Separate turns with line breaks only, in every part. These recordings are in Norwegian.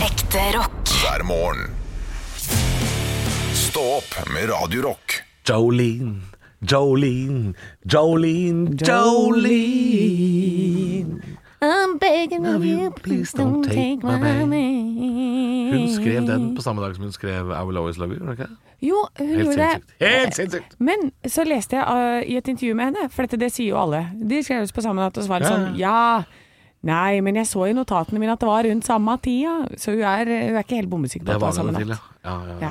Ekte rock.
hver morgen. Stå opp med Radio Rock.
Jolene, Jolene, Jolene, Jolene.
I'm begging
Love
of
you,
you,
please
please
don't
don't take
take my
my
baby.
money.
Hun skrev den på samme dag som hun skrev I Will Always Love You. var det Ikke? det?
Jo, hun
Helt
gjorde det.
sinnssykt. Helt sinnssykt!
Men så leste jeg eh, i et intervju med henne, for dette det sier jo alle. De skrev oss på samme natt og svarer
Ja, ja.
sånn ja. Nei, men jeg så i notatene mine at det var rundt samme tida, så hun er, hun er ikke helt bommesikker på
Det
at det var
vaga
samme
det til, ja.
natt.
Ja, ja, ja.
Ja.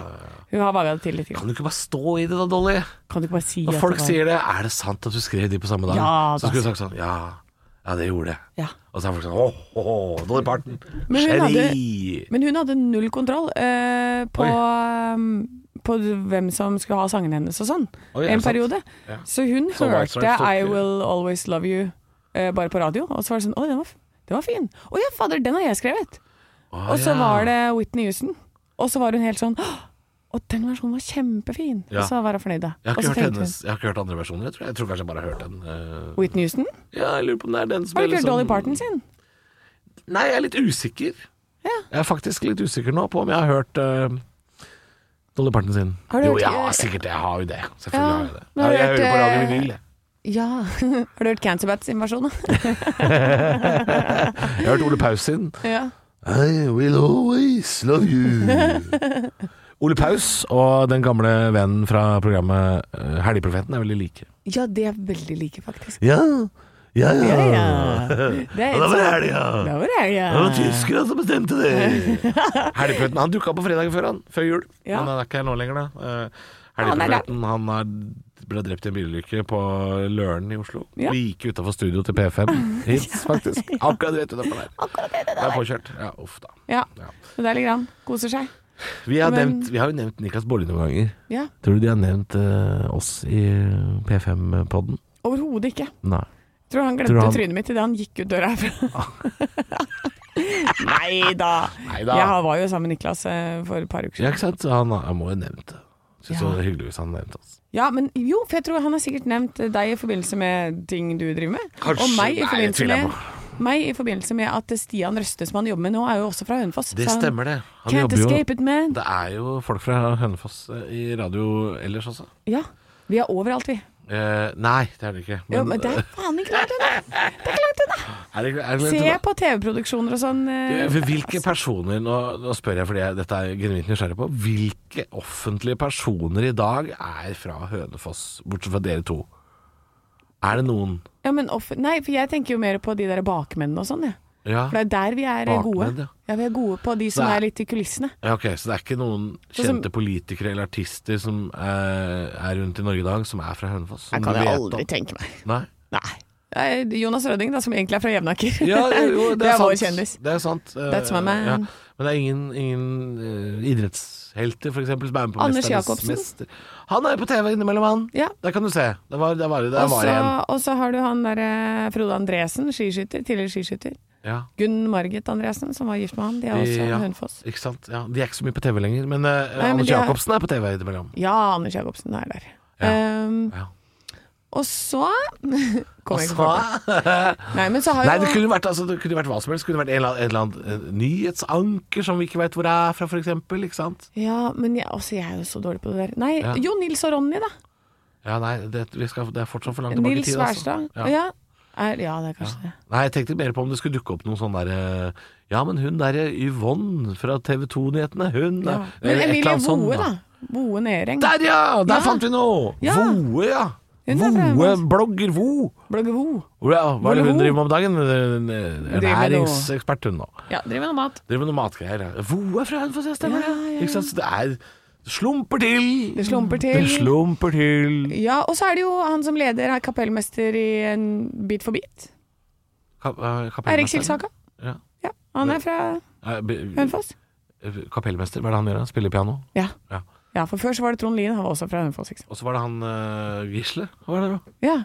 Hun har vaga det til litt.
Kan du ikke bare stå i det da, Dolly?
Kan du ikke bare si
Når
at
folk
det var-
sier det, er det sant at du skrev de på samme dag?
Ja,
så
da
skulle du sagt sånn Ja, ja det gjorde jeg.
Ja.
Og så er folk sånn Åh, åh, åh, Dolly Parton.
Men hun hadde-
Chérie.
Men hun hadde null kontroll eh, på, eh, på hvem som skulle ha sangene hennes og sånn,
Oi, er det
en
sant?
periode.
Ja.
Så hun
Så White
hørte
Stripes tok-
I Will Always Love You eh, bare på radio, og så var det sånn Å, den var, f- den var fin. Å ja, fader, den har jeg skrevet.
Å,
Og så
ja.
var det Whitney Houston, og så var hun helt sånn Å, den versjonen var kjempefin!
Ja.
Og så var hun fornøyd, da.
jeg har,
Og
ikke
så
hørt
tenkte
hennes, jeg har ikke hørt andre versjoner. Jeg tror, jeg tror kanskje jeg bare har hørt den. eh,
hun Whitney Houston?
Ja, jeg lurer på om det er den som
Har du
er
ikke hørt
liksom-
Dolly Parton sin?
Nei, jeg er litt usikker. Jeg er faktisk litt usikker nå på om jeg har hørt eh, Dolly Parton sin.
Har du
jo,
hørt-
ja, sikkert. Jeg har jo det. Selvfølgelig
Ja,
har jeg det.
men har
jeg,
du
jeg
hørt,
hører på Radio
eh,
Vinyl. jeg.
Ja. har du hørt Cancerbats sin versjon, da?
Jeg har hørt Ole Paus sin.
ja.
I will always love you. Ole Paus og den gamle vennen fra programmet eh, Helgeprofeten er veldig like.
ja, de er veldig like, faktisk.
Ja, ja, ja.
Ja, ja. Det er
Og da var det
sånn-
helga.
Da var det helga.
Det var tyskerne som bestemte det. Helgeprøyten han dukka på fredagen før, han. Før jul.
Ja.
Men han er ikke her nå lenger, da. Eh,
Han er der.
Helgeprøyten han er, ble drept i en bilulykke på Løren i Oslo.
Ja.
Like utafor studio til P5 Hits, faktisk. Akkurat rett utafor der. Det er påkjørt. Ja, uff da.
Ja,
Ja.
så der ligger han. Koser seg.
Vi har,
Men-
nevnt, vi har jo nevnt Niklas Baarli noen ganger.
Ja,
Tror du de har nevnt eh, oss i P5-podden?
Overhodet ikke.
Nei.
Tror han
Tror
glemte
han- Ah.
trynet mitt idet han gikk ut døra herfra. Nei da.
Neida.
Jeg har- var jo sammen med Niklas eh, for et par uker
Ja,
siden.
ikke sant? Så han, han må jo ha nevnt det. Syns
Ja.
det var hyggelig hvis han nevnte oss.
Ja, men jo, for jeg tror han har sikkert nevnt deg i forbindelse med ting du driver med.
Kanskje.
Og
Nei,
meg i
det
forbindelse
tviler jeg
med meg i forbindelse med at Stian Røste, som han jobber med nå, er jo også fra Hønefoss.
Det
Så han-
stemmer, det. Han
Sånn. Can't
jobber jo-
escape it, man.
Det er jo folk fra Hønefoss eh, i radio ellers også.
Ja. Vi er overalt, vi.
Eh, nei, det er det ikke. eh,
Jo, men det er faen ikke langt unna! Det er ikke langt unna!
er det, ikke- er det,
Se på TV-produksjoner og sånn. eh,
Eh, Hvilke personer Nå, nå spør jeg fordi jeg, dette er jeg genuint nysgjerrig på. Hvilke offentlige personer i dag er fra Hønefoss, bortsett fra dere to? Er det noen?
Ja, men off Nei, for jeg tenker jo mer på de der bakmennene og sånn, jeg.
Ja.
For det er der vi er eh,
Bakmenn, ja.
gode. Ja, vi er gode på de som
Så er-
er litt i kulissene.
ja, ok, Så det er ikke noen
Sånn som-
kjente politikere eller artister som eh, er rundt i Norge i dag, som er fra Hønefoss? som
Jeg kan
du
jeg
vet
aldri
om?
tenke meg.
Nei?
Nei. Eh, Jonas Røding, da, som egentlig er fra Jevnaker.
Ja, jo, jo, det, er sant.
vår kjendis.
Det er sant. Eh,
That's my man.
Men det er ingen, ingen eh, idrettshelter, for eksempel, som er med på
Anders
Mesternes
Jacobsen.
Mester. Han er jo på TV innimellom, han.
Ja.
Der kan du se. Der var, der var, det- der
Og
var
så-
det en.
Og så har du han derre Frode Andresen, skiskytter. Tidligere skiskytter.
Ja.
Gunn Margit Andresen, som var gift med han. De er også
Ja,
fra Hønefoss.
Ikke sant? Ja, de er ikke så mye på TV lenger, men eh,
men
Anders
de er-
Jacobsen er på TV innimellom.
Ja, Anders Jacobsen er der.
Ja.
Um,
Ja.
og så Kom jeg ikke på det.
Altså,
Nei, men så har
Nei, det
jo
kunne vært, altså, det kunne vært hva som helst. Det kunne vært en eller annen, en eller annen eh, nyhetsanker som vi ikke veit hvor er fra, for eksempel. Ikke sant?
Ja, men jeg, altså, jeg er jo så dårlig på det der. Nei,
Ja.
Jo Nils og Ronny, da.
Ja, nei, det, vi skal, det er fortsatt for langt tilbake i
Nils
tid. altså.
Wærstad.
Ja.
Ja. Ja. Er, ja, det er kanskje det.
Nei, jeg tenkte mer på om det skulle dukke opp noen sånn derre Ja, men hun derre Yvonne fra TV 2-nyhetene, hun
Ja.
er-
Men
eller et eller
Emilie
annet sånn,
Voe, da. Voe Nereng.
Der, ja! Der
Ja.
fant vi noe!
Ja.
Voe, ja.
Hun er fra-
Voe, blogger Vo.
Blogge Vo.
Ja, hva er det hun
Voe.
driver med om dagen? Eh, En
med noe.
Ernæringsekspert, hun nå.
Ja, driver med noe mat.
Driver med noe matgreier. ja. Voe er fra Hønefoss, ja, stemmer
Ja, ja,
det?
ja.
Ikke sant? Så det er det slumper til!
Det slumper til.
Det slumper til.
Ja, og så er det jo han som leder er kapellmester i en Bit for bit.
Ka- eh, kapellmester.
Eirik Silsaka.
Ja.
Ja, han er fra
Eh, be- eh,
Hønefoss.
Kapellmester, hva er det han gjør? da? Spiller piano?
Ja.
Ja.
ja, for før så var det Trond Lien, han var også fra Hønefoss. ikke sant?
Og så var det han eh, Gisle. Hva var det da?
Ja.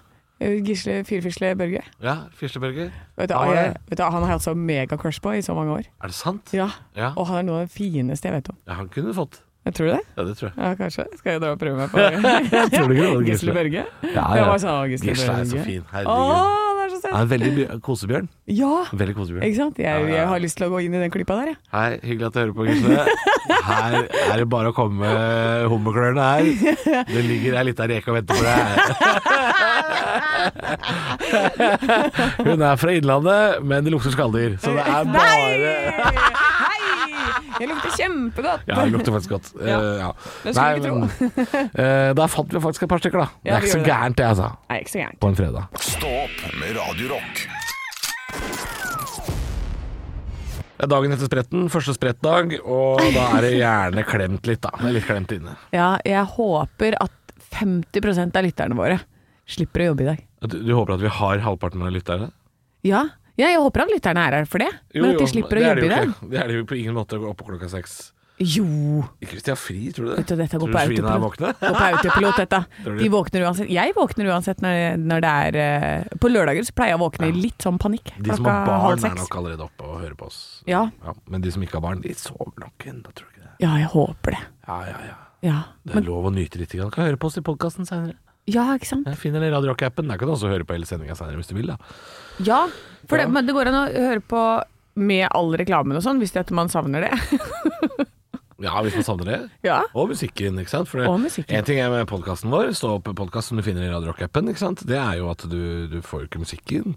Eh, Gisle Firfisle Børge.
Ja, Firsteberger.
Vet du,
Han var
jeg,
det.
vet du, han har jeg hatt så mega-crush på i så mange år.
Er det sant?
Ja.
Ja.
Og han er noe av det fineste jeg vet om.
Ja, han kunne du fått.
Jeg tror du det?
Ja, det tror jeg.
Ja, kanskje. Skal jeg dra og prøve meg på
Tror du ikke det var
Gisle Børge?
Ja,
Jeg
ja.
var sånn, «Å, Gisle
Gisle er
Børge».
så fin.
Å,
Herregud.
han er så ser
Han er en veldig bjør- kosebjørn.
Ja,
Veldig kosebjørn.
ikke sant? Jeg, jeg har lyst til å gå inn i den klypa der, jeg.
Hei, hyggelig at du hører på, guttene. Her er det bare å komme med hummerklørne her. Det ligger ei lita reke og venter på deg. Hun er fra Innlandet, men det lukter skalldyr. Så det er bare
Hei! Jeg lukter kjempegodt.
Ja, det lukter faktisk godt. Eh,
Ja.
ja.
Det skulle vi ikke
eh, da fant vi faktisk et par stykker, da. det er
Ja, vi
ikke så
gjorde det.
gærent, det, altså.
Nei, ikke så gærent.
På en fredag.
Stå opp med Radio Rock.
Det er dagen etter spretten, første sprettdag, og da er det gjerne klemt litt, da. Det er litt klemt inne.
Ja, jeg håper at 50 av lytterne våre slipper å jobbe i dag.
Du, du håper at vi har halvparten av lytterne?
Ja, ja jeg håper at lytterne er her for det, men at de slipper å
det er
jobbe i
det jo
dag.
ikke. Det er det jo på ingen måte å gå opp på klokka seks.
Jo.
Ikke hvis de har fri, tror du det?
Vet du, dette går
Tror du
på
svina er
autopilot.
våkne?
Gå på autopilot, dette.
Tror du?
De våkner uansett. Jeg våkner uansett når, når det er eh, På lørdager så pleier jeg å våkne i litt sånn panikk.
De som
klokka
har
halv
barn, er
seks.
nok allerede oppe og hører på oss.
Ja.
Men de som ikke har barn, de sover nok ennå, tror du ikke det?
ja, jeg håper det.
Ja, ja, ja.
Ja,
Det er lov å nyte litt. Du kan høre på oss i podkasten seinere.
ja ikke sant.
Jeg finner den Radio Rock-appen. Der kan du også høre på hele sendinga seinere hvis du vil. da
Ja, for
Ja.
Det, men det går an å høre på med all reklamen og sånn, hvis det er at man savner det.
Ja, hvis man savner det.
ja.
Og musikken, ikke sant. For det,
Og musikken.
En ting er med podkasten vår, stå opp podkast som du finner i Radio Rock-appen, ikke sant. Det er jo at du, du får jo ikke musikken.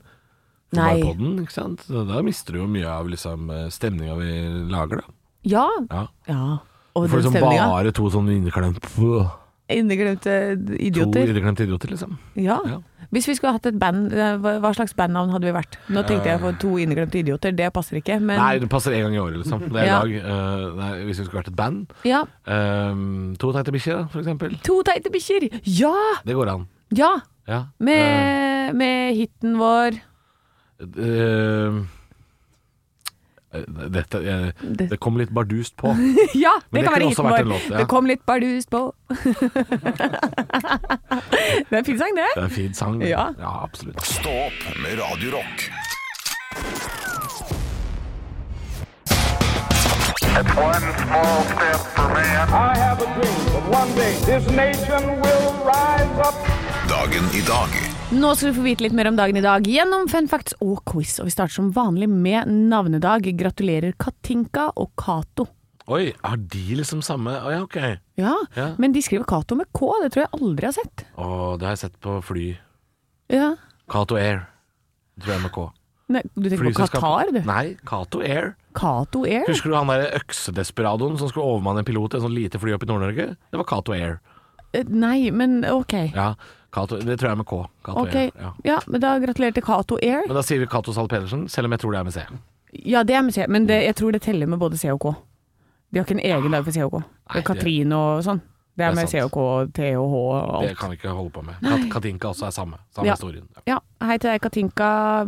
Du får
Nei.
bare podden, ikke sant. Så Da mister du jo mye av liksom, stemninga vi lager, da.
Ja.
Ja.
ja. Og
Du får
den
liksom
stemninga.
bare to sånne inneklemte
Inneglemte
To
idioter.
inneklemte idioter, liksom.
Ja.
Ja.
Hvis vi skulle hatt et band, eh, hva hva slags bandnavn hadde vi vært? Nå tenkte jeg på to inneglemte idioter, det passer ikke, men
Nei, det passer én gang i året, liksom. Det er
Ja.
lag. Eh, nei, hvis vi skulle vært et band.
ja.
Eh, to teite bikkjer, da, for eksempel.
To teite bikkjer! Ja!
Det går an.
Ja!
Ja. Eh,
Med, med hiten vår
Eh, dette eh,
Det-
Det kom litt bardust på.
Ja,
Men det
det, kan
kunne
være
også
hiten
vært
vår.
en låt, ja.
Det kom litt bardust på. det er en fin sang, det.
Det er en fin sang. det.
Ja.
ja, absolutt.
Stå opp med Radio Rock.
It's one small step for man.
I have a dream that one day this nation will rise up.
Dagen i dag.
Nå skal du få vite litt mer om dagen i dag gjennom fun facts og quiz. Og vi starter som vanlig med navnedag. Gratulerer Katinka og Cato.
Oi, har de liksom samme Å ja, ok.
Ja,
Ja.
men de skriver Cato med K. Det tror jeg aldri har sett.
Å, det har jeg sett på fly.
Ja.
Cato Air. Tror jeg med K.
Nei, du tenker på
Flyselskapet-
Qatar, du?
Nei, Cato Air.
Cato Air?
Husker du han derre øksedesperadoen som skulle overmanne en pilot i et sånt lite fly opp i Nord-Norge? Det var Cato Air.
Eh, Nei, men ok.
Ja, Cato- det tror jeg er med K. Cato
Ok,
Air. Ja.
ja, men da gratulerer til Cato Air.
Men da sier vi Cato Zahl Pedersen, selv om jeg tror det er med C.
Ja, det er med C, men det, jeg tror det teller med både C og K. De har ikke en egen dag for C og K.
Nei, det-
Katrin og sånn. Det
Det er
er med C
sant.
og K, T og H og
Det
alt.
kan vi ikke holde på med. Kat Katinka også er samme. Samme
Ja.
historien. Ja.
Ja, hei til deg, Katinka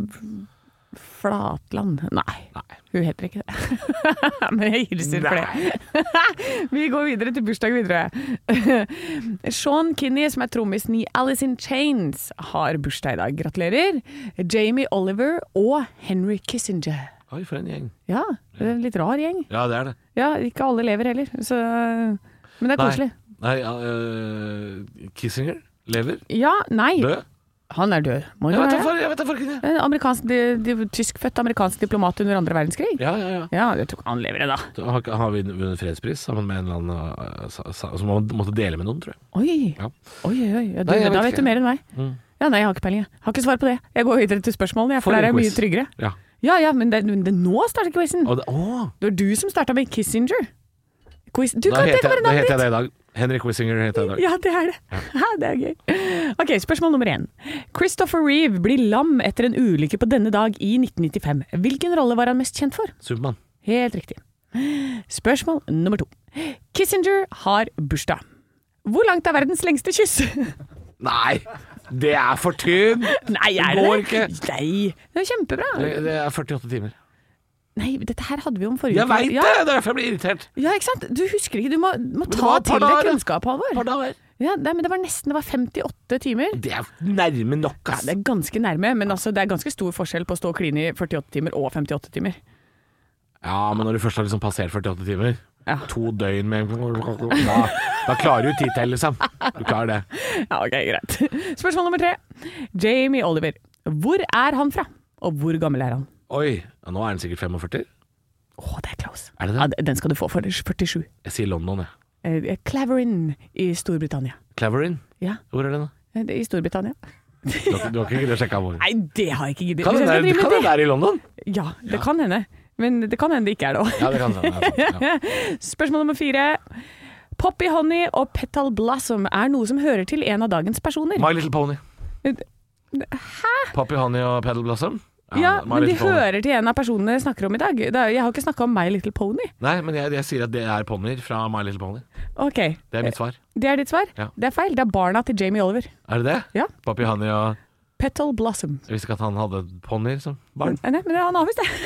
Flatland. Nei,
Nei.
hun heter ikke det. Men jeg hilser for det. Vi går videre til bursdag videre. Sean Kinney, som er trommisen i Alice in Chains, har bursdag i dag. Gratulerer. Jamie Oliver og Henry Kissinger.
Oi, for en gjeng.
Ja, det er en litt rar gjeng.
Ja, det er det.
Ja, ikke alle lever heller, så Men det er koselig.
Nei, ja, øh, Kissinger? Lever?
Ja, nei.
Død?
Han er død, må
Jeg
jo
vet da
være.
for- jeg vet da farken, jeg.
En amerikansk, di, di, tyskfødt amerikansk diplomat under andre verdenskrig.
Ja, ja, ja.
Ja, jeg tror ikke han lever det, da.
Da Har, ikke- har vi vunnet fredspris sammen med en eller annen øh, sa- sa- som man måtte dele med noen, tror jeg.
Oi,
Ja.
oi, oi. oi. Ja, du,
Nei, jeg
da
vet
vet
ikke. Mm.
du mer enn meg. Ja, Nei, jeg har ikke peiling. jeg. Har ikke svar på det. Jeg går videre til spørsmålene, jeg,
For
for der
en
er jeg mye
quiz.
tryggere.
Ja.
Ja ja, men det, det, nå starter quizen.
Og det, å,
Det var du som starta med Kissinger. Quiz. Du
da,
kan
heter jeg,
tenke bare
da
navnet
heter
ditt!
jeg det i dag. Henrik Wissinger heter jeg i dag.
Ja, det er det. det er gøy. Ok, Spørsmål nummer én. Christopher Reeve blir lam etter en ulykke på denne dag i 1995. Hvilken rolle var han mest kjent for?
Supermann.
Helt riktig. Spørsmål nummer to. Kissinger har bursdag. Hvor langt er verdens lengste kyss?
Nei! Det er for tynn!
Nei, er det
går
det? Nei, det er kjempebra.
Det, det er 48 timer.
Nei, dette her hadde vi om forrige
Jeg veit
Ja,
det! Det er derfor jeg blir irritert.
ja, ikke sant? Du husker ikke. Du må, må
det
ta
var et par
til deg
dager, da.
kunnskap, Halvor. Ja, nei, men det var nesten det var 58 timer.
Det er nærme nok,
Ja,
ass.
det er ganske nærme, men altså, det er ganske stor forskjell på å stå og kline i 48 timer og 58 timer.
Ja, men når du først har liksom passert 48 timer,
Ja.
to døgn med da, da klarer du titell, liksom. Du klarer det.
Ja, ok, greit. Spørsmål nummer tre. Jamie Oliver. Hvor er han fra, og hvor gammel er han?
Oi, ja, nå er den sikkert 45.
Å, det er close.
Er det det?
Ja, den skal du få for 47.
Jeg sier London, jeg.
Eh, Claverin i Storbritannia.
Claverin.
Ja,
Hvor er den, da?
eh, det er i Storbritannia.
Du har, ikke- du har ikke giddet å sjekke hvor?
Nei, det har jeg ikke giddet.
Kan
Hvis
det
jeg
være,
skal drive
kan
med
det være i London?
det- Ja, det kan hende. Men det kan hende det ikke er det òg.
Ja, det kan det. Ja.
Spørsmål nummer fire. Poppy Honey og Petal Blossom er noe som hører til en av dagens personer.
My Little Pony. Poppy Honey og Pedal Blossom.
Ja,
My
men de
Little Pony.
hører til en av personene jeg snakker om i dag. Det er- Jeg har ikke snakka om My Little Pony.
Nei, men jeg, jeg sier at det er ponnier fra My Little Pony.
Ok,
Det er mitt svar.
det er ditt svar?
Ja.
Det er feil. Det er barna til Jamie Oliver.
Er det det?
Ja.
Poppy Honey og
Petal Blossom.
Jeg visste ikke at han hadde ponnier som barn.
Nei, men det er han har visst det.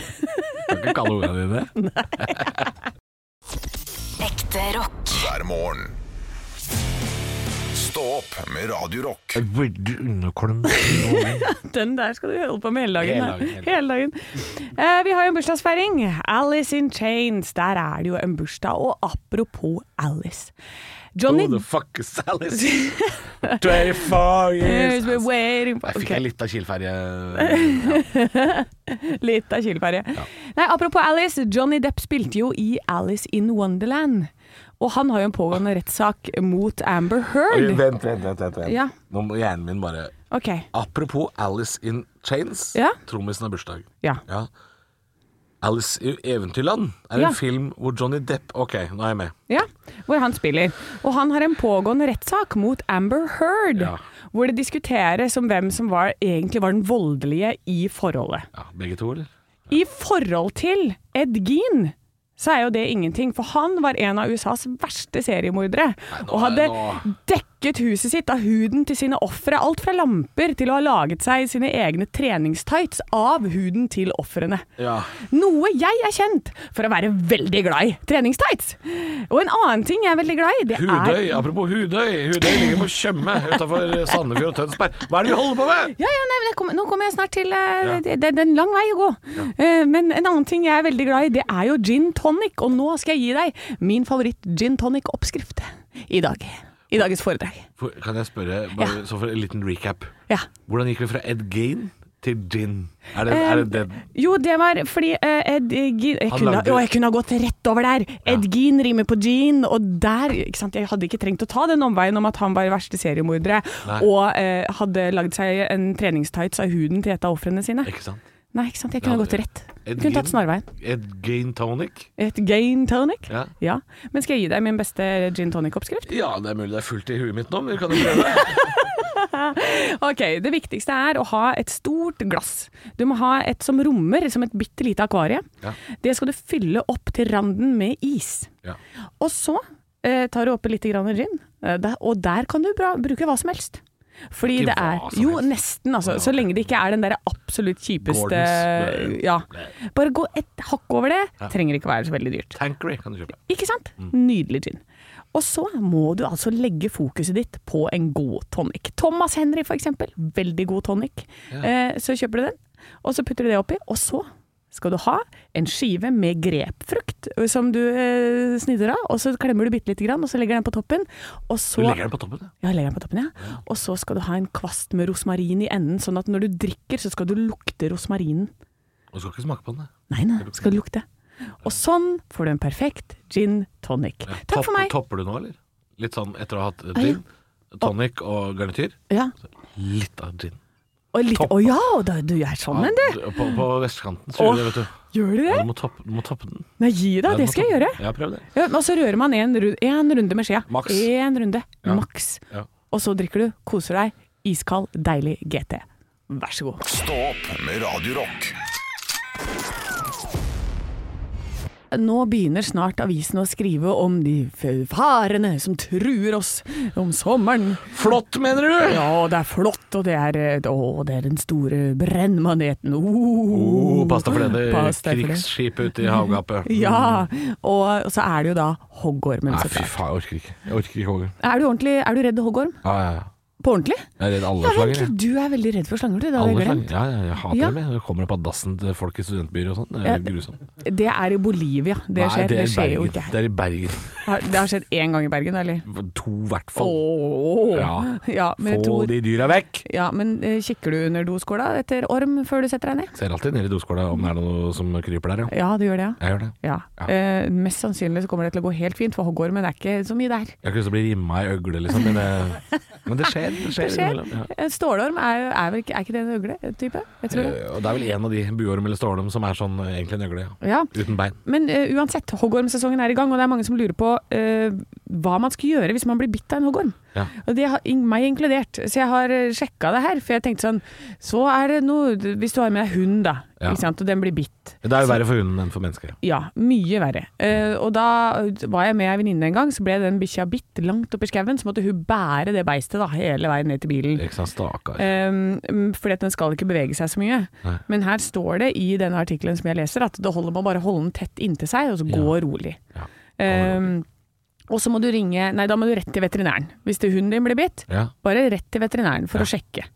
Kan ikke kalle ungene dine det.
Ekte rock.
hver morgen. Stå opp med Radio Rock.
Burde underkolm
Den der skal du holde på med hele dagen.
Hele
da.
dagen, hele
Hele dagen. Eh, vi har jo en bursdagsfeiring. Alice in Chains. Der er det jo en bursdag. Og apropos Alice. Johnny
Who Oh, the fuck is Alice? 24 years
Years we're waiting for-
Jeg altså. fikk
Ok,
en lita kilferje.
Litt av kilferje. Nei, apropos Alice. Johnny Depp spilte jo i Alice in Wonderland. Og han har jo en pågående rettssak mot Amber Heard.
Vent, vent, vent. vent.
Ja.
Nå må hjernen min bare
Ok,
Apropos Alice in Chains.
Ja.
Trommisen har bursdag.
ja.
Ja. Alice i Eventyrland er
Ja.
en film hvor Johnny Depp Ok, nå er jeg med.
Ja, hvor han spiller. Og han har en pågående rettssak mot Amber Heard,
Ja.
hvor det diskuteres om hvem som var, egentlig var den voldelige i forholdet.
Ja, begge to, eller?
I forhold til Ed Gein så er jo det ingenting, for han var en av USAs verste seriemordere. Og hadde
nå-
dekket huset sitt av huden til sine ofre. Alt fra lamper til å ha laget seg sine egne treningstights av huden til ofrene.
Ja.
Noe jeg er kjent for å være veldig glad i treningstights. Og en annen ting jeg er veldig glad i, det er
Hudøy, apropos Hudøy. Hudøy ligger på Tjøme utafor Sandefjord og Tønsberg. Hva er det vi holder på med?
ja, ja, nei, men jeg kommer- Nå kommer jeg snart til eh, det, det er en lang vei å gå. Eh, men en annen ting jeg er veldig glad i, det er jo gin tonic. Og nå skal jeg gi deg min favoritt-gin tonic-oppskrift i dag. I dagens foredrag.
For, kan jeg spørre, bare, så for en liten recap.
Ja.
Hvordan gikk vi fra Ed Gein til gin? Er det, er det, det
Jo, det var fordi eh, Ed Gein jeg
Han
kunne,
lagde-
å, jeg kunne ha gått rett over der. Ed Gein rimer på Jean, og der ikke sant? Jeg hadde ikke trengt å ta den omveien om at han var verste seriemordere
Nei.
og eh, hadde lagd seg en treningstights av huden til et av ofrene sine.
Ikke sant?
Nei, ikke sant. Jeg kunne
Ja,
ha gått rett.
Ed
Jeg kunne tatt
Gein-
snarveien.
Ed Gein tonic?
Et gain tonic.
Ja.
Ja. Men skal jeg gi deg min beste gin tonic-oppskrift?
ja, det er mulig det er fullt i huet mitt nå, men vi kan jo prøve.
Ok, Det viktigste er å ha et stort glass. Du må ha et som rommer, som et bitte lite akvarie.
Ja.
Det skal du fylle opp til randen med is.
Ja.
Og så eh, tar du oppi litt grann gin, eh, der- og der kan du bra, bruke hva som helst. Fordi
Ikke
det er
hva som
Jo,
helst.
nesten, altså. Så lenge det ikke er den derre absolutt kjipeste
Gordons. eh,
Ja. Bare gå et hakk over det. Trenger ikke være så veldig dyrt.
Tankery kan du kjøpe.
Ikke sant?
Mm.
Nydelig gin. Og så må du altså legge fokuset ditt på en god tonic. Thomas Henry for eksempel, veldig god tonic. Eh, så kjøper du den, og så putter du det oppi, og så skal du ha en skive med grepfrukt eh, som du eh, snidder av, og så klemmer du bitte lite grann, og så legger den på toppen. Og
Du
så
legger den på toppen, ja.
ja, jeg legger den på toppen, ja. Og så skal du ha en kvast med rosmarin i enden, sånn at når du drikker, så skal du lukte rosmarinen.
Og du skal ikke smake på den.
Nei, nei, skal det lukte. Og sånn får du en perfekt gin tonic. Takk for meg.
Topper du nå, eller? Litt sånn etter å ha hatt
Ah, ja.
gin, tonic og garnityr.
Ja.
Litt av gin.
Og litt, å ja, da, du er sånn en, du.
Ja, På, på vestkanten så gjør du det, vet du.
Gjør du
Ja,
det?
Du må toppe, du må toppe den.
Nei, gi
Ja,
deg,
du
det
må
skal jeg
toppe
gjøre.
den. Ja, prøv det.
Ja, og så rører man en, ru- en runde med skjea.
Maks.
En runde,
Ja.
maks.
Ja.
Og så drikker du, koser deg. Iskald, deilig GT. Vær så god.
Stå opp med Radio Rock.
Nå begynner snart avisen å skrive om de f- farene som truer oss om sommeren.
Flott, mener du?
Ja, det er flott, og det er, eh, å, det er den store brennmaneten. Oh,
Oh, pass deg for det,
Pass
det
deg for det.
krigsskipet ute i havgapet.
Ja, og så er det jo da hoggormen.
Nei,
så
fy
klart.
faen, jeg orker ikke. Jeg orker ikke hoggorm.
Er du ordentlig, er du redd hoggorm?
Ja, ja, ja.
På ordentlig?
Jeg er redd alle
Ja,
slanger.
vent,
jeg.
du er veldig redd for slanger, du. Det hadde
Alle
jeg
slanger.
glemt.
Ja, ja, jeg hater
Ja.
dem. jeg. Jeg kommer opp av dassen til folk i studentbyer og sånn. Det
Ja.
er grusomt.
Det er i Bolivia. Det skjer,
Nei,
det
er i
skjer jo
Bergen.
ikke her.
Det er i Bergen.
Har- Det har skjedd én gang i Bergen, eller?
To i hvert fall.
Ååå.
Ja.
Ja,
Få
men jeg tror
de dyra vekk!
ja, men eh, kikker du under doskåla etter orm før du setter deg ned?
Ser alltid ned i doskåla om det er noe som kryper der, ja.
Ja, du gjør det, ja.
Jeg gjør det.
ja.
Ja.
Eh, mest sannsynlig så kommer det til å gå helt fint, for hoggormen er ikke så mye der.
Jeg har ikke lyst til å bli rimma i øgle, liksom, men det, men det skjer. Det skjer,
Det skjer.
innimellom, ja.
Eh, Stålorm er, jo- er, vel ikke, er ikke det en øgle-type? Jeg tror det.
Eh, Og det er vel en av de, buorm eller stålorm, som er sånn eh, egentlig en øgle, ja.
Ja.
Uten bein.
Men eh, uansett, hoggormsesongen er i gang, og det er mange som lurer på eh, hva man skal gjøre hvis man blir bitt av en hoggorm.
Ja.
Og det har in- meg inkludert. Så jeg har eh, sjekka det her, for jeg tenkte sånn Så er det noe Hvis du har med deg hund, da,
Ja.
ikke sant? og den blir bitt.
Det er jo verre for hunden enn for mennesker.
Ja, mye verre. Eh, og da var jeg med ei venninne en gang, så ble den bikkja bitt langt oppi skauen. Så måtte hun bære det beistet da, hele veien ned til bilen.
Ikke sant, stakkar.
Um, fordi at den skal ikke bevege seg så mye.
Nei.
Men her står det i denne artikkelen som jeg leser, at det holder med å bare holde den tett inntil seg, og så gå
Ja.
rolig.
Ja.
Um, og så må du ringe Nei, da må du rett til veterinæren. Hvis det hunden din blir bitt,
Ja.
bare rett til veterinæren for
Ja.
å sjekke.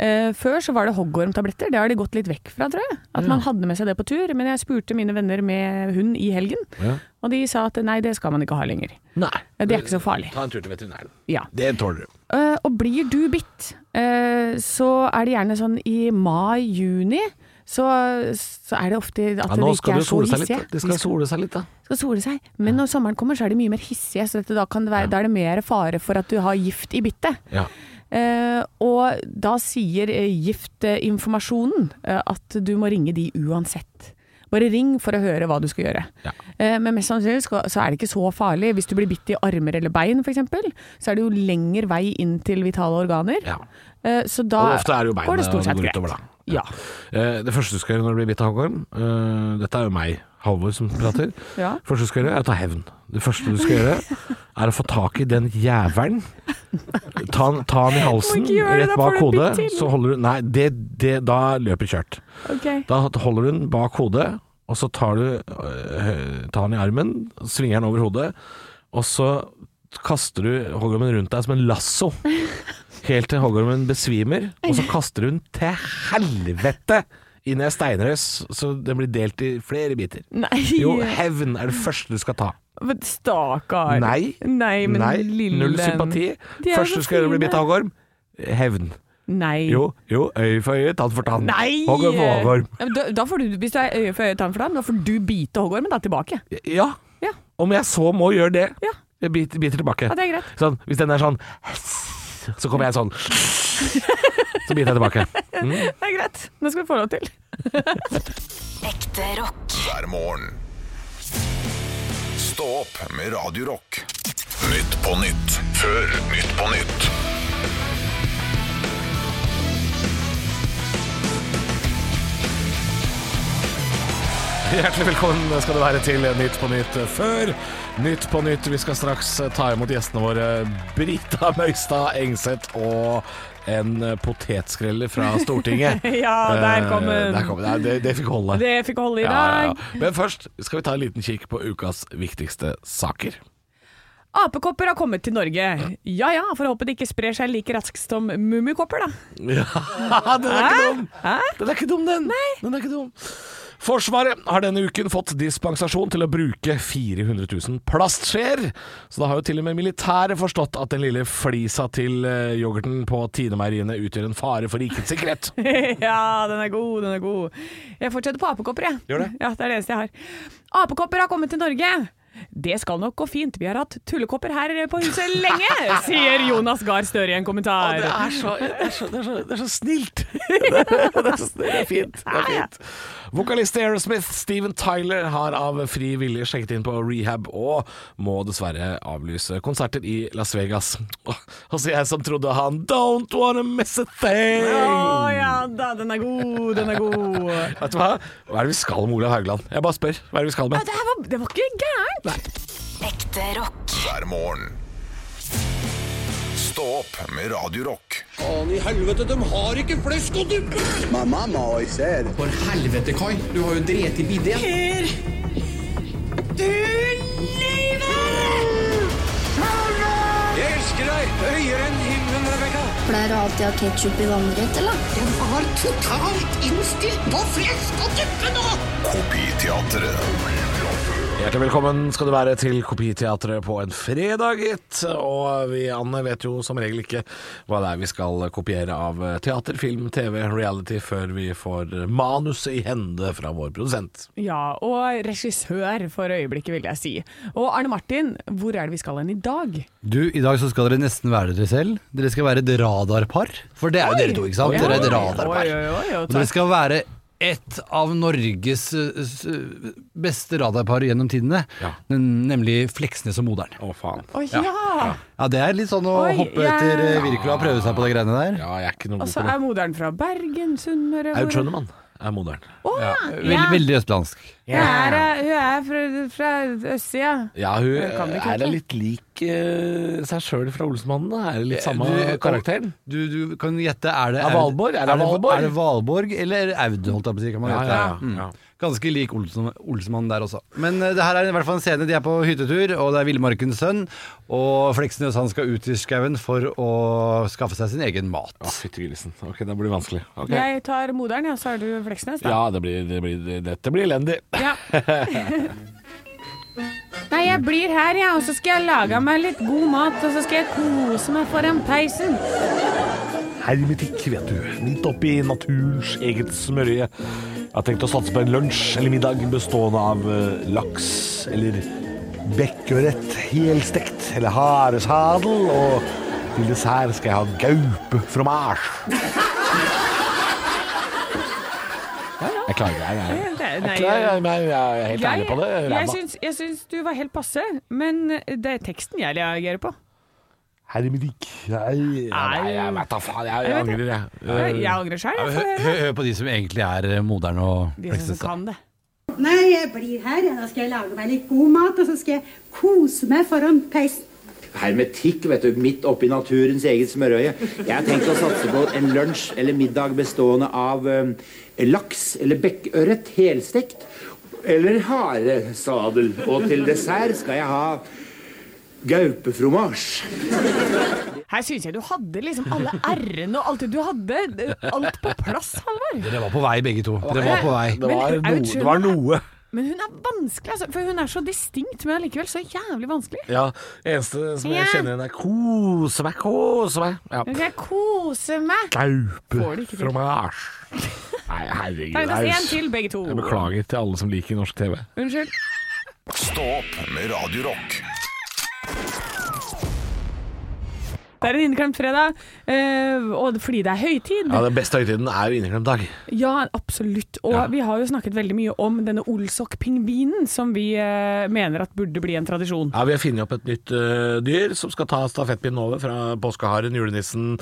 Eh, før så var det hoggormtabletter, det har de gått litt vekk fra, tror jeg. At man hadde med seg det på tur. Men jeg spurte mine venner med hund i helgen,
Ja.
og de sa at nei, det skal man ikke ha lenger.
Nei.
Det er ikke så farlig.
Ta en tur til veterinæren.
Ja.
Det tåler du.
Eh, og blir du bitt, eh, så er det gjerne sånn i mai-juni, så, så er det ofte at
Ja,
de
nå
ikke
skal
er
de
så
sole seg litt.
hissige.
da. De skal sole seg litt, da.
De skal sole seg. Men når sommeren kommer, så er de mye mer hissige, så dette, da, kan det være, da er det mer fare for at du har gift i bittet.
Ja.
Eh, og da sier eh, giftinformasjonen eh, at du må ringe de uansett. Bare ring for å høre hva du skal gjøre.
Ja.
Eh, men mest sannsynlig skal, så er det ikke så farlig. Hvis du blir bitt i armer eller bein f.eks., så er det jo lengre vei inn til vitale organer.
Ja.
Eh, så da
Og ofte er det jo
går
beinet
det
det
stort sett
går
greit.
utover, da.
Ja.
Eh, Det første du skal gjøre når du blir bitt av hoggorm eh, Dette er jo meg, Halvor, som prater.
Ja.
Det første du skal gjøre, er å ta hevn. Det første du skal gjøre, er å få tak i den jævelen. Ta, han- ta han i halsen,
ikke gjøre det,
rett
da
bak
får du
hodet.
bitt til.
Så holder du Nei, det, det, da løper kjørt.
Ok.
Da holder du den bak hodet, og så tar du øh, tar den i armen, svinger den over hodet, og så kaster du hoggormen rundt deg som en lasso. Helt til hoggormen besvimer, og så kaster du den til helvete inn i ei steinrøys, så den blir delt i flere biter.
Nei,
Jo, hevn er det første du skal ta.
men stakkar.
Nei.
Nei, men
Nei,
lille
null sympati.
De er
Første
så
du skal gjøre, blir bitt av hoggorm. Hevn.
Nei.
Jo, jo, øye for øye, tann for tann.
Nei!
Hoggorm for hoggorm.
Ja, men Da, da får du, hvis du er øye for øye, tann for tann, da får du bite hoggormen da tilbake.
Ja.
Ja.
Om jeg så må gjøre det.
Ja.
Jeg biter, biter tilbake.
Ja, det er greit.
Sånn, hvis den er sånn Så kommer jeg sånn Så biter jeg tilbake. Mm.
Det er greit. Det skal du få lov til.
Ekte rock.
hver morgen. Stå opp med Radio Rock. Nytt på nytt før Nytt på nytt.
Hjertelig velkommen skal du være til Nytt på Nytt før Nytt på Nytt. Vi skal straks ta imot gjestene våre Brita Møystad Engseth og en potetskrelle fra Stortinget.
Ja, der kom den.
Eh, Der kom den. Nei, Det, det fikk holde.
Det fikk holde i
Ja, ja,
dag.
ja. Men først skal vi ta en liten kikk på ukas viktigste saker.
Apekopper har kommet til Norge. Ja ja, for å håpe det ikke sprer seg like raskt som mummikopper, da.
Ja, den er ikke dum!
Hæ?
Den er ikke dum, den. den er ikke dum. Forsvaret har denne uken fått dispensasjon til å bruke 400 000 plastskjeer. Så da har jo til og med militæret forstått at den lille flisa til eh, yoghurten på Tine-meieriene utgjør en fare for rikets sikkerhet.
ja, den er god, den er god. Jeg fortsetter på apekopper, jeg.
Gjør det.
Ja, det er det eneste jeg har. Apekopper har kommet til Norge. Det skal nok gå fint, vi har hatt tullekopper her på huset lenge, sier Jonas Gahr Støre i en kommentar.
Det er så, det er så, det er så, det er så snilt. Det er, det, er så, det er fint. Det er fint. Vokalist i Aerosmith, Steven Tyler, har av fri vilje sjekket inn på rehab og må dessverre avlyse konserter i Las Vegas. Altså jeg som trodde han Don't wanna miss a thing.
Å ja da, den er god, den er god.
Vet du hva? Hva er det vi skal med Olav Haugland? Jeg bare spør. Hva er det vi skal
Ja,
med?
det, her var, det var ikke gærent.
Ekte rock.
Hver morgen. Stå opp med Radio Rock.
Faen i helvete, de har ikke flesk og duppe!
My mom always said,
For helvete, Kai. Du har jo drept i bidé.
Jeg elsker deg høyere enn himmelen, Rebekka.
Pleier du alltid å ha ketsjup i vannrett, eller?
Den var totalt innstilt på flesk og duppe nå!
Kopiteatret.
Hjertelig velkommen skal du være til Kopiteatret på en fredag, gitt. Og vi, Anne, vet jo som regel ikke hva det er vi skal kopiere av eh, teater, film, TV, reality, før vi får manuset i hende fra vår produsent.
Ja, og regissør for øyeblikket, vil jeg si. Og Arne Martin, hvor er det vi skal hen i dag?
Du, I dag så skal dere nesten være dere selv. Dere skal være et radarpar. For det er jo dere to, ikke sant?
Oi.
Dere er et
Oi, oi, oi,
radarpar.
oi,
Og dere
takk.
skal være et av Norges eh, s- beste radarpar gjennom tidene.
Ja.
Nem- Nemlig Fleksnes og Modern.
Å, faen.
Å ja!
Ja, det er litt sånn å
Oi,
hoppe
ja.
etter eh, Wirkola og prøve seg på de greiene der.
Ja, jeg er ikke noe
Og
god på
så Altså, er
det.
moderen fra Bergen, Sunnmøre
Aud
hvor-
Schønemann er moderen.
Å, ja.
Vel- Veldig østlandsk.
Hun er, hun er fra, fra østsida.
Ja, hun
kan det ikke,
er da litt lik eh, seg sjøl fra Olsenmannen, da. Er det litt samme
Du-
karakteren?
Du, du kan gjette, er det
Er Valborg? Er det Valborg?
Er det Valborg eller Aud, holdt jeg på å si. Kan man
Ja, ja,
gjette.
ja,
Mm.
ja.
Ganske lik Olsen, Olsemann der også. Men eh, det her er i hvert fall en scene. De er på hyttetur, og det er Villmarkens sønn. Og Fleksnes han skal ut i skauen for å skaffe seg sin egen mat.
Å, fytti grisen. Ok, det blir vanskelig. Ok.
Jeg tar moderen, ja, så er du Fleksnes, da.
Ja, det blir, det blir, dette blir elendig.
Ja. Nei, jeg blir her, jeg, og så skal jeg lage meg litt god mat, og så skal jeg kose meg foran peisen.
hermetikk, vet du. Midt oppi naturens eget smørje. Jeg har tenkt å satse på en lunsj eller middag bestående av eh, laks eller bekkørret helstekt eller haresadel. Og til dessert skal jeg ha gaupefromasj. Jeg klarer ikke. Jeg, jeg,
Nei,
jeg, klarer, jeg, jeg, jeg er helt
jeg,
ærlig på det.
jeg,
Ræva.
syns, jeg syns du var helt passe, men det er teksten jeg reagerer på.
Hermetikk. Nei, nei, jeg vet da faen. Jeg, jeg angrer, jeg. Eh,
Jeg angrer
øh,
sjøl, jeg.
Hør,
For
hør, hør på de som egentlig er eh, moderne og
de som
Fleksnes. da.
kan det.
Nei, jeg blir her. Da skal jeg lage meg litt god mat, og så skal jeg kose meg foran peisen.
Hermetikk, vet du. Midt oppi naturens eget smørøye. Jeg har tenkt å satse på en lunsj eller middag bestående av eh, laks eller bekkørret helstekt. Eller haresadel. Og til dessert skal jeg ha gaupefromasj.
Her syns jeg du hadde liksom alle r-ene og alt det du hadde. eh, Alt på plass, Halvor.
Dere var på vei, begge to. Dere var på vei.
Det var,
Men
noe,
Aud
det var noe.
Men hun er vanskelig, altså. For hun er så distinkt, men allikevel så jævlig vanskelig.
Ja, det eneste som jeg
Ja.
kjenner igjen er kose meg, kose meg. Ja.
Nå skal jeg kose meg. Får det ikke til.
Gaupetromasj. Nei, herregud.
Tegnast én
Aus.
til, begge to.
Jeg beklager til alle som liker norsk TV.
Unnskyld.
Stå opp med Radio Rock.
Det er en inneklemt fredag, eh, og det- fordi det er høytid.
Ja, Den beste høytiden er jo inneklemt dag.
Ja, absolutt. Og vi har jo snakket veldig mye om denne Olsok-pingvinen, som vi eh, mener at burde bli en tradisjon.
Ja, Vi har funnet opp et nytt øh, dyr som skal ta stafettpinnen over fra påskeharen, julenissen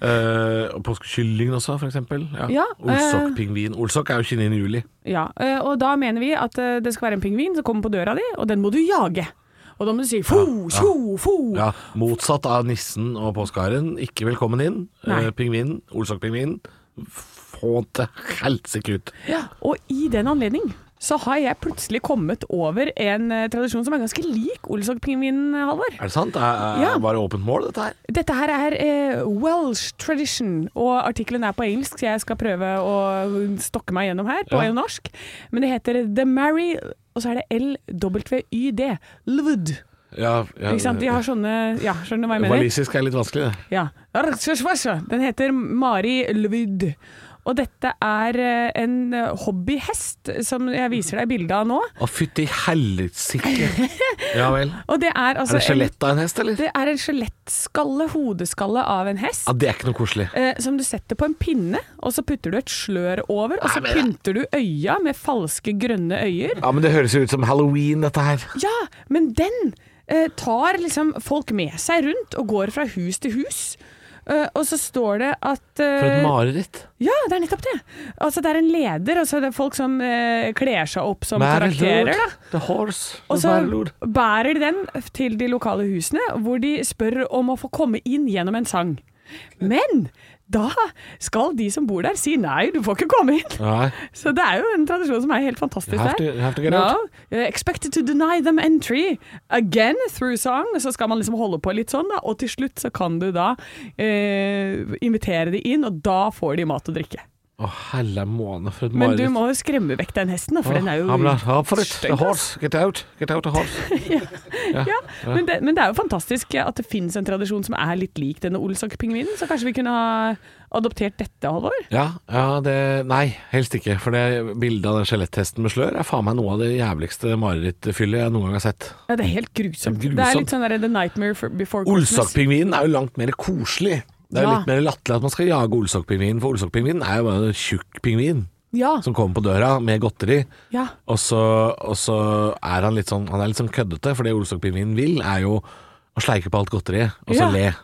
øh, og påskekyllingen også, for eksempel.
Ja, eh,
Olsok-pingvin. Olsok er jo 29. juli.
Ja, eh, og da mener vi at eh, det skal være en pingvin som kommer på døra di, og den må du jage. Og da må du si fo, tjo, fo.
Ja, Motsatt av nissen og påskeharen. Ikke velkommen inn.
Nei.
Eh, pingvinen, Olsok-pingvinen, få til helsike ut.
Og i den anledning så har jeg plutselig kommet over en eh, tradisjon som er ganske lik Olsok-pingvinen, Halvor.
Er det sant? Er, er,
Ja.
Var det åpent mål, dette her?
Dette her er eh, Welsh tradition, og artikkelen er på engelsk, så jeg skal prøve å stokke meg gjennom her på
Ja.
norsk. Men det heter The Marry, og så er det L-W-Y-D. Lvd.
Ja, ja, eh,
Ikke sant? De har sånne Ja, skjønner du hva jeg mener?
Walisisk er litt vanskelig, det.
Ja. Den heter Mari Lvyd. Og dette er eh, en hobbyhest, som jeg viser deg bilde av nå.
Å, fytti helsike. Ja vel.
Og det er
Er
altså
det skjelett av en hest, eller?
En, det er en skjelettskalle, hodeskalle av en hest.
Ja, Det er ikke noe koselig.
eh, som du setter på en pinne, og så putter du et slør over, og så
Nei, men-
pynter du øya med falske grønne øyer.
Ja, men Det høres jo ut som halloween, dette her.
Ja, men den eh, tar liksom folk med seg rundt, og går fra hus til hus. Eh, og så står det at eh,
For et mareritt.
Ja, det er nettopp det. Altså, det er en leder, og så er det folk som eh, kler seg opp som karakterer. da.
The horse.
Og så bærer de den til de lokale husene, hvor de spør om å få komme inn gjennom en sang. Men da skal de som bor der si nei, du får ikke komme inn.
Nei.
Så det er jo en tradisjon som er helt fantastisk
You have to-
der.
you have to get
no,
out.
uh, Expected to deny them entry again through song. Så skal man liksom holde på litt sånn, da. Og til slutt så kan du da eh, invitere de inn, og da får de mat og drikke.
Å, helle måne, for et
Men du
mareritt.
må jo skremme vekk den hesten, da, for den er jo
I'm not up for it.
stygg,
The
ass.
horse. Get out. Get out the horse.
Ja, men det, men det er jo fantastisk at det finnes en tradisjon som er litt lik denne Olsok-pingvinen, så kanskje vi kunne ha adoptert dette, Halvor?
Ja, ja, det Nei, helst ikke. For det bildet av den skjeletttesten med slør er faen meg noe av det jævligste marerittfyllet jeg noen gang har sett.
Ja, det er helt grusomt.
Det er
Det er litt sånn der The Nightmare for- Before Christmas.
Olsokpingvinen er jo langt mer koselig. Det er jo
Ja.
litt mer latterlig at man skal jage olsokpingvinen, for olsokpingvinen er jo bare en tjukk pingvin
Ja,
som kommer på døra med godteri.
ja.
Og så, og så er han litt sånn Han er litt sånn køddete, for det olsokpingvinen vil, er jo å sleike på alt godteriet, og så
Ja.
le.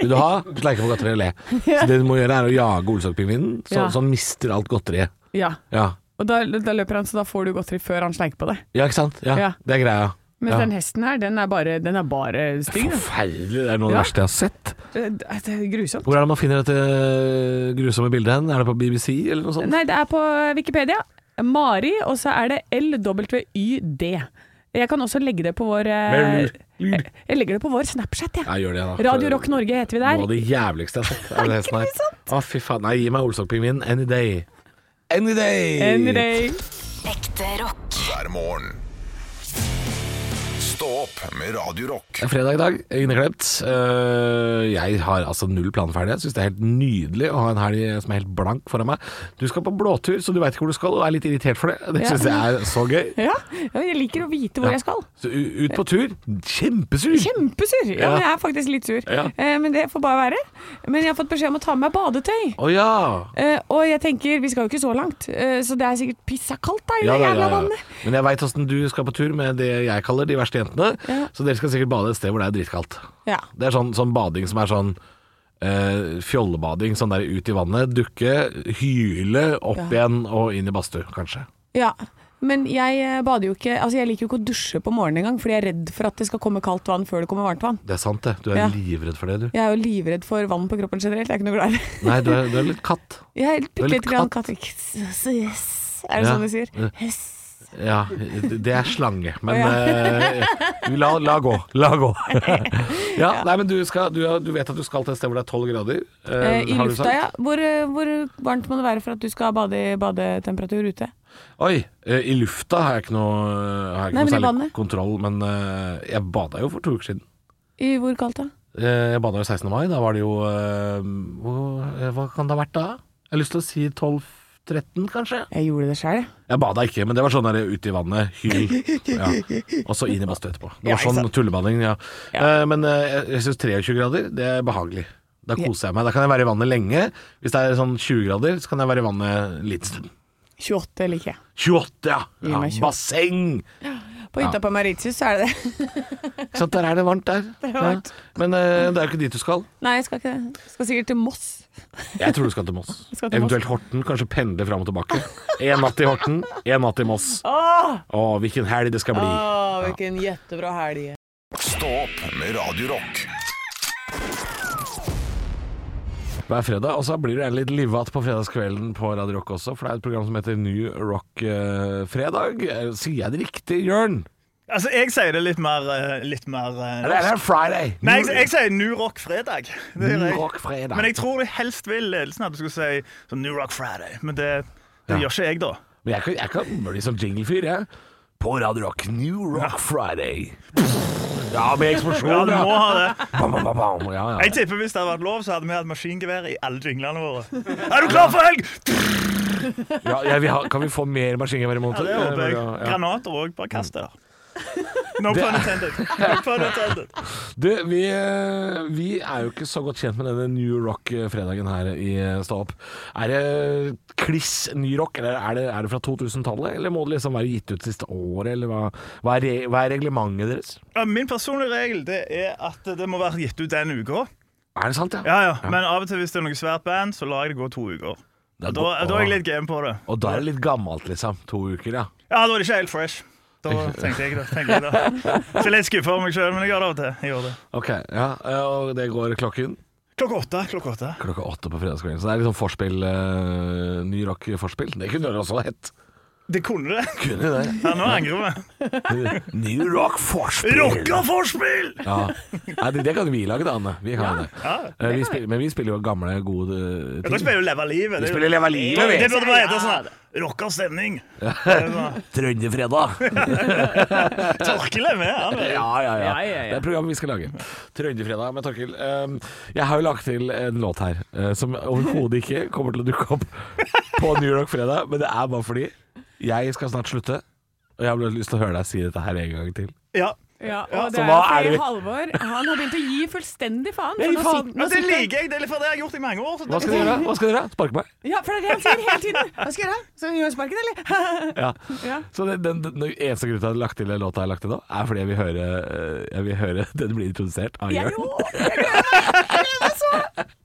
Vil du ha? Sleike på godteriet og le. Så det du må gjøre, er å jage olsokpingvinen, så,
Ja.
så han mister alt godteriet.
ja.
Ja.
Og da, da løper han, så da får du godteri før han sleiker på deg.
ja, ikke sant? Ja,
Ja.
Det er greia.
Mens
Ja.
den hesten her, den er bare, den er bare stygg. da.
Forferdelig. Det er noe av det
Ja.
verste jeg har sett.
Det er det er grusomt.
Hvor er det man finner dette eh, grusomme bildet hen? Er det på BBC, eller noe sånt?
Nei, det er på Wikipedia. Mari, og så er det LWYD. Jeg kan også legge det på vår eh,
Veldig
Jeg jeg legger det på vår Snapchat, jeg.
Ja, gjør det da.
Radio Rock Norge heter vi der.
Noe av det jævligste jeg har sett. Er det hesten her. Å, fy faen. Nei, gi meg Olsokpingvinen any day. Any day!
Any day.
Ekte rock.
hver morgen. Stå opp med Radio Rock.
Det er Fredag i dag, inneklemt. Eh, jeg har altså null plan ferdig. Jeg syns det er helt nydelig å ha en helg som er helt blank foran meg. Du skal på blåtur, så du veit ikke hvor du skal, og er litt irritert for det. Det
Ja.
syns jeg er så gøy.
Ja, ja, jeg liker å vite hvor jeg skal.
Så u- ut på tur. Kjempesur!
Kjempesur!
Ja.
Ja, men jeg er faktisk litt sur.
Ja.
Eh, men det får bare være. Men jeg har fått beskjed om å ta med meg badetøy.
Å ja.
Eh, og jeg tenker, vi skal jo ikke så langt, eh, så det er sikkert pissa kaldt da i
Ja,
det
ja,
jævla
ja, ja.
vannet.
Men jeg veit åssen du skal på tur med det jeg kaller de verste jentene.
Ja.
Så dere skal sikkert bade et sted hvor det er dritkaldt.
Ja.
Det er sånn, sånn bading som er sånn eh, fjollebading. Sånn der ut i vannet, dukke, hyle, opp igjen og inn i badstue, kanskje.
ja. Men jeg eh, bader jo ikke Altså jeg liker jo ikke å dusje på morgenen engang, fordi jeg er redd for at det skal komme kaldt vann før det kommer varmt vann.
Det er sant, det. Du er
Ja.
livredd for det, du.
Jeg er jo livredd for vann på kroppen generelt, jeg er ikke noe glad i det.
Nei, du er, du er litt katt.
Jeg er
Du er
bitte
litt
lite grann katt. Er det
Ja.
sånn de sier? Hess.
Ja, det er slange, men
Ja.
eh, la, la gå. La gå. ja, nei, men du, skal, du, du vet at du skal til et sted hvor det er tolv grader? eh,
Eh, I
har du sagt?
lufta, ja. Hvor, eh, hvor varmt må det være for at du skal ha bade, badetemperatur ute?
Oi, eh, i lufta har jeg ikke noe, har jeg ikke
Nei, men
noe
i
særlig
vannet.
kontroll, men eh, jeg bada jo for to uker siden.
I hvor kaldt da?
Eh, Jeg bada jo 16. mai, da var det jo eh, hvor, eh, Hva kan det ha vært da? Jeg har lyst til å si 12-13, kanskje?
Jeg gjorde det sjøl, jeg.
Jeg bada ikke, men det var sånn der ute i vannet, hyl. Ja. Og så inn i badstue etterpå. Det
Ja,
var
ikke
sånn
sant.
tullebading, ja.
Ja.
Eh, Men eh, jeg- jeg syns 23 grader, det er behagelig. Da koser jeg meg. Da kan jeg være i vannet lenge. Hvis det er sånn 20 grader, så kan jeg være i vannet en liten stund.
28 liker jeg.
28, ja!
Gi
ja
meg 28.
basseng!
På hytta på Mauritius så er det det.
Ikke sant, der er det varmt der.
Det er varmt.
Ja. Men eh, det er jo ikke dit du skal.
Nei, jeg skal ikke det. Jeg Skal sikkert til Moss.
Jeg tror du skal til Moss.
skal til Moss.
Eventuelt Horten. Kanskje pendle fram og tilbake. Én natt i Horten, én natt i Moss. Å, hvilken helg det skal bli.
hvilken jettebra helg.
Stå opp med Radio Rock.
Hver fredag, og så blir det litt livat på fredagskvelden på Radio Rock også, for det er et program som heter New Rock eh, Fredag. Eh, Sier jeg det riktig, Jørn?
Altså, jeg sier det litt mer, eh, litt mer eh,
Eller er det Friday?
Nei, jeg, jeg sier New Rock Fredag. Det gjør
New
jeg.
Rock Fredag.
Men jeg tror det helst vil ledelsen at du skulle si sånn New Rock Friday. Men det, det gjør ikke jeg, da.
Men jeg kan, jeg kan bli sånn jinglefyr, jeg. På Radio Rock, New Rock Friday. Ja, med eksplosjon,
Ja, du må
ja.
ha det.
Bam, bam, bam, bam. ja, ja.
Jeg tipper Hvis det hadde vært lov, så hadde vi hatt maskingevær i alle jinglene våre. Er du klar for helg?!
ja, ja vi har, Kan vi få mer maskingevær i
Ja,
måneden?
det håper jeg.
Ja, ja.
Granater òg. Bare kast det der. No pun intended. No pun intended.
Du, vi, eh, vi er jo ikke så godt kjent med denne New Rock-fredagen her i eh, Stå opp. Er det eh, kliss ny rock, eller er det, er det fra 2000-tallet? Eller må det liksom være gitt ut siste året, eller hva, hva, er, re- hva er reglementet deres?
Ja, Min personlige regel det er at det må være gitt ut den uka.
Er det sant, ja?
Ja, ja. Men av og til hvis det er noe svært band, så lar jeg det gå to uker.
Det er
Da,
godt-
da er jeg litt game på det.
Og da er det litt gammelt, liksom. To uker, ja.
Ja, da er det ikke helt fresh. Da tenkte jeg det. Tenkte jeg det. Så litt skuffa over meg sjøl, men jeg gjør det av og til. Jeg gjør det.
Ok, ja, eh, og det går klokken?
Klokka åtte. Klokka åtte.
Klokka åtte på fredagskvelden. Så det er liksom forspill, eh, ny rock-forspill. Det kunne det også hett.
Det kunne det.
Kunne det.
Ja, nå angrer vi.
New Rock Forspill!
Rocka forspill!
Ja. Nei, det, det kan vi lage, da, Anne. Vi kan det.
Ja,
Eh, vi spiller, men vi spiller jo gamle, gode eh,
Dere
ting.
spiller jo Leva livet.
Vi spiller Leva livet, vi.
Det burde bare hete sånn her Rocka stemning. sånn,
Trønderfredag!
Torkel er med. Han.
Ja, ja, ja.
Ja, ja, ja.
Det er programmet vi skal lage. Trønderfredag med Torkil. Um, Jeg har jo lagt til en låt her uh, som overhodet ikke kommer til å dukke opp på New Rock Fredag, men det er bare fordi jeg skal snart slutte, og jeg har bare lyst til å høre deg si dette her en gang til.
Ja.
Ja, og
Ja.
det
Så
er
hva
jo
er
fordi
det vi-
Halvor han har begynt å gi fullstendig faen.
Ja,
For nå
faen.
sit-
Ja,
nå
det
sitter-
liker jeg, det er for det har jeg gjort i mange år. så
Hva skal du gjøre? Hva skal du gjøre? Sparke meg?
Ja, for det er det han sier hele tiden. Hva skal jeg gjøre? Skal jeg gjøre sparken, eller?
Ja.
Ja.
Så den, den, den eneste grunnen til at jeg har lagt til den låta jeg har lagt til nå, er fordi jeg vil høre, uh, jeg vil høre den blir introdusert av
Jeg
Jørn.
òg! Jeg gleder meg! Jeg gleder meg så!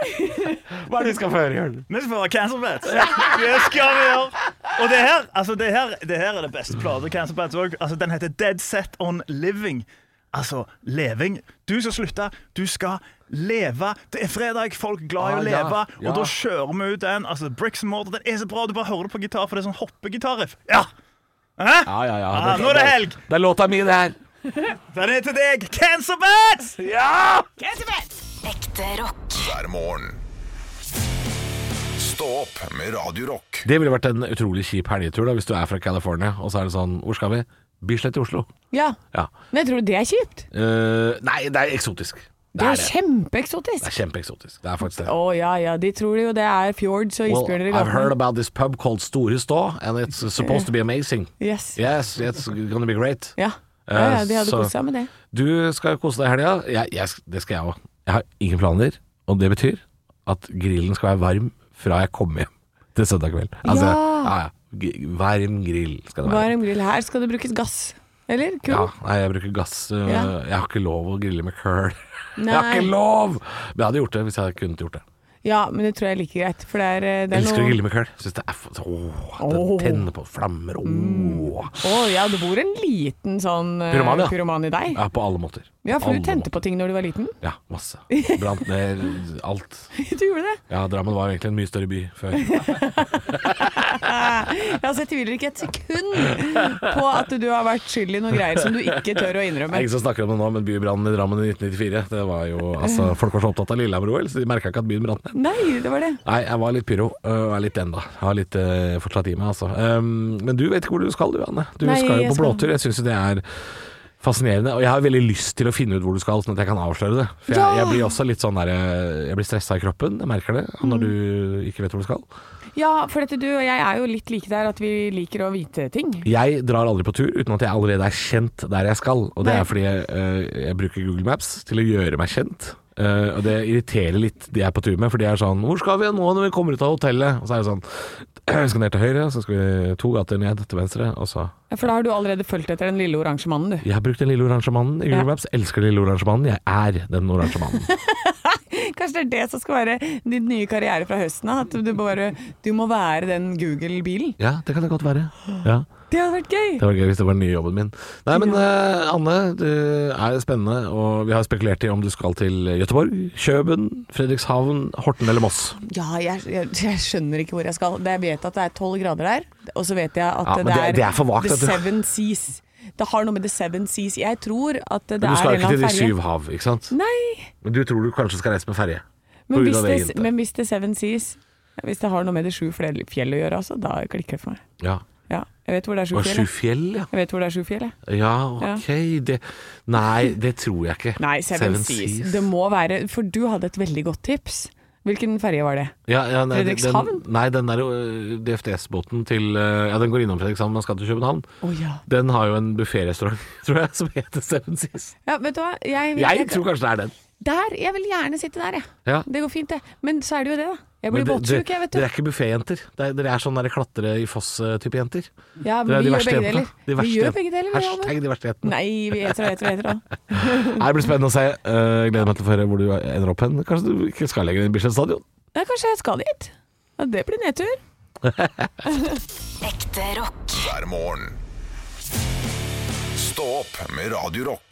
Hva er det vi skal få høre, Jørn?
Vi skal få høre Cancerbats. Det skal vi gjøre. Og det her, altså det her, det her er det beste plata Cancerbats òg. Altså, den heter Dead Set On Living. Altså leving. Du skal slutte. Du skal leve. Det er fredag, folk er glad i å
Ah, ja,
leve,
ja.
og da kjører vi ut den. Altså, Bricks and Mortar, den er så bra. Du bare hører det på gitar, for det er sånn hoppegitarriff. Ja! Hæ?
Ja, ja, ja.
Ah, nå er det helg.
Det er låta mi, det her.
Den er til deg. Cancerbats!
Ja!
Ekte rock.
hver morgen. Stå opp med Radio Rock.
Det ville vært en utrolig kjip helgetur da, hvis du er fra California, og så er det sånn Hvor skal vi? Bislett i Oslo.
Ja,
Ja.
men jeg tror det er kjipt.
Eh, nei, det er eksotisk.
Det er
det. Det
kjempeeksotisk.
er kjempeeksotisk. Det er faktisk det.
Å ja, ja, de tror jo det er fjords og
Well,
isbjørner i
I've heard
gaten.
about this pub called Store Stå, and it's supposed to be amazing.
Yes.
Yes, it's gonna be great.
Ja. ja, ja de
Eh,
hadde kost seg med det.
Du skal kose deg i helga. Jeg, jeg, det skal jeg òg. Jeg har ingen planer, og det betyr at grillen skal være varm fra jeg kommer hjem til søndag kveld. Altså,
Ja.
ja, G- Varm grill skal det være.
Varm grill. Her skal det brukes gass. Eller?
Ja,
Kull?
nei, jeg bruker gass. øh,
Ja.
Jeg har ikke lov å grille med curl. Jeg har
Nei.
ikke lov! Men jeg hadde gjort det hvis jeg kunne gjort det.
Ja, men det tror jeg er like greit, for det er, eh, det
Jeg
er
elsker å
noe
grille med curl. Synes det er f- åh, det
Åh. Mm.
tenner på flammer. Åh.
Å ja, det bor en liten sånn eh,
Pyroman, ja.
pyroman i deg.
Ja, på alle måter.
Ja, for
Alle
du tente
måter.
på ting når du var liten.
Ja, masse. Brant ned alt.
Du gjorde det.
Ja, Drammen var jo egentlig en mye større by før.
Ja, så jeg tviler ikke et sekund på at du har vært skyld i noen greier som du ikke tør å
Det er
innrømme.
ingen som snakker om det nå, men bybrannen i Drammen i 1994 Det var jo, altså, Folk var så opptatt av Lillehammer-OL, så de merka ikke at byen brant ned.
Nei, det var det.
Nei, jeg var litt pyro, øh, og er litt den, da. Har litt øh, fortsatt i meg, altså. Um, men du vet ikke hvor du skal, du, Anne. Du
Nei,
skal jo
jeg
på
skal-
blåtur. Jeg syns jo det er fascinerende. Og jeg har veldig lyst til å finne ut hvor du skal, sånn at jeg kan avsløre det. For jeg,
Ja!
jeg blir også litt sånn der øh, Jeg blir stressa i kroppen, jeg merker det,
Mm.
når du ikke vet hvor du skal.
Ja, for dette du og jeg er jo litt like der at vi liker å vite ting.
Jeg drar aldri på tur uten at jeg allerede er kjent der jeg skal. Og det
Nei.
er fordi jeg, øh, jeg bruker Google Maps til å gjøre meg kjent. Eh, og det irriterer litt de jeg er på tur med, for de er sånn 'Hvor skal vi nå når vi kommer ut av hotellet?' Og så er det sånn Vi skal ned til høyre, så skal vi to gater ned til venstre, og så
Ja, For da har du allerede fulgt etter den lille oransje mannen, du.
Jeg har brukt den lille oransje mannen i Google
Ja.
Maps. Elsker den lille oransje mannen. Jeg er den oransje mannen.
Kanskje det er det som skal være din nye karriere fra høsten av? At du, bare, du må være den Google-bilen.
ja, det kan det godt være. Ja.
Det hadde vært gøy!
Det var gøy hvis det var den nye jobben min. Nei, men eh, Anne, du er spennende, og vi har spekulert i om du skal til Gøteborg, Kjøben, Fredrikshavn, Horten eller Moss.
Ja, jeg, jeg, jeg skjønner ikke hvor jeg skal. Jeg vet at det er tolv grader der, og så vet jeg at
Ja, men
det,
det-
er
det er for vagt,
The
vet du.
Seven Seas. Det har noe med The Seven Seas Jeg tror at det
Men
er
du
en
skal jo
eller
ikke til
annen
de syv
ferge.
hav, ikke sant?
Nei,
Men du tror du kanskje skal reise med ferje?
men
På grunn
hvis,
av
det,
det hintet.
men hvis The Seven Seas Hvis det har noe med de sju fjell fjell å gjøre, altså, da klikker det for meg.
Ja.
Ja, jeg vet hvor det er sju
Og
fjell.
sju
jeg.
fjell, ja.
Jeg vet hvor det er sju fjell, jeg.
Ja, ok. Det, nei, det tror jeg ikke.
Nei, Seven, Seas. Det må være For du hadde et veldig godt tips. Hvilken ferge var det?
Ja, ja, nei, den-
Fredrikshavn?
Nei, den der øh, DFDS-båten til øh, Ja, den går innom Fredrikshavn, man skal til København.
Å ja.
Den har jo en bufférestaurant, tror jeg, som heter Seven Seas.
ja. Vet du hva, jeg,
Jeg tror kanskje det er den.
Der, jeg vil gjerne sitte der, jeg.
Ja.
Det går fint, det. Men så er det jo det, da. Jeg
Men
blir
det- det-
båtsjuk, jeg, vet du.
Dere er ikke bufféjenter. Det er- Dere er sånn der klatre i foss-type jenter.
Ja,
Dere er
men vi
de
gjør
verste
begge
jentene.
deler.
De
Vi
verste
gjør
jentene.
begge deler. vi, Halvor.
Hashtag de verste jentene.
Nei, vi heter og heter og heter da.
Nei, Det blir spennende å se. Eh, gleder meg til å få høre hvor du ender opp hen. Kanskje du ikke skal legge deg i Bislett stadion?
Nei, kanskje jeg skal dit. Ja, det blir nedtur.
Ekte rock.
hver morgen. Stå opp med Radio Rock.